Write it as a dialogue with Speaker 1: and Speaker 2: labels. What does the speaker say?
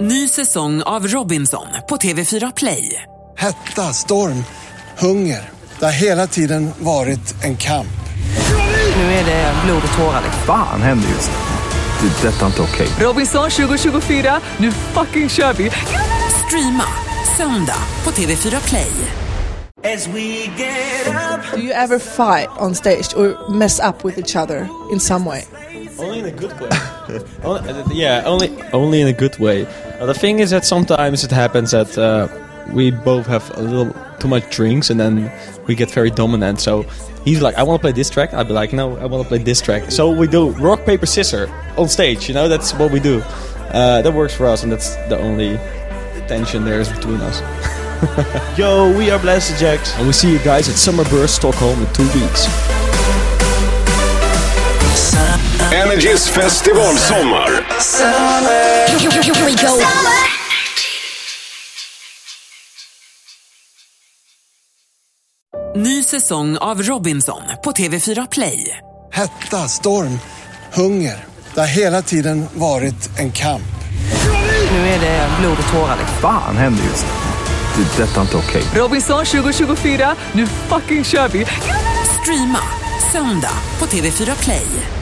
Speaker 1: Ny säsong av Robinson på TV4 Play.
Speaker 2: Hetta, storm, hunger. Det har hela tiden varit en kamp.
Speaker 1: Nu är det blod och tårar.
Speaker 3: Fan händer just nu. Det. är Detta är inte okej.
Speaker 1: Robinson 2024, nu fucking kör vi! Streama söndag på TV4 Play.
Speaker 4: Do you ever fight on stage or mess up with each other in some way?
Speaker 5: Only in a good way. Only- uh, yeah, only only in a good way. Uh, the thing is that sometimes it happens that uh, we both have a little too much drinks, and then we get very dominant. So he's like, "I want to play this track." I'd be like, "No, I want to play this track." So we do rock paper scissor on stage. You know, that's what we do. Uh, that works for us, and that's the only tension there is between us. Yo, we are Blaster Jacks, and we see you guys at Summerburst Stockholm in two weeks.
Speaker 6: Energys festivalsommar.
Speaker 7: Here we go.
Speaker 1: Ny säsong av Robinson på TV4 Play.
Speaker 2: Hetta, storm, hunger. Det har hela tiden varit en kamp.
Speaker 1: Nu är det blod och tårar.
Speaker 3: Fan händer just nu. Det. är Detta är inte okej.
Speaker 1: Robinson 2024, nu fucking kör vi! Streama söndag på TV4 Play.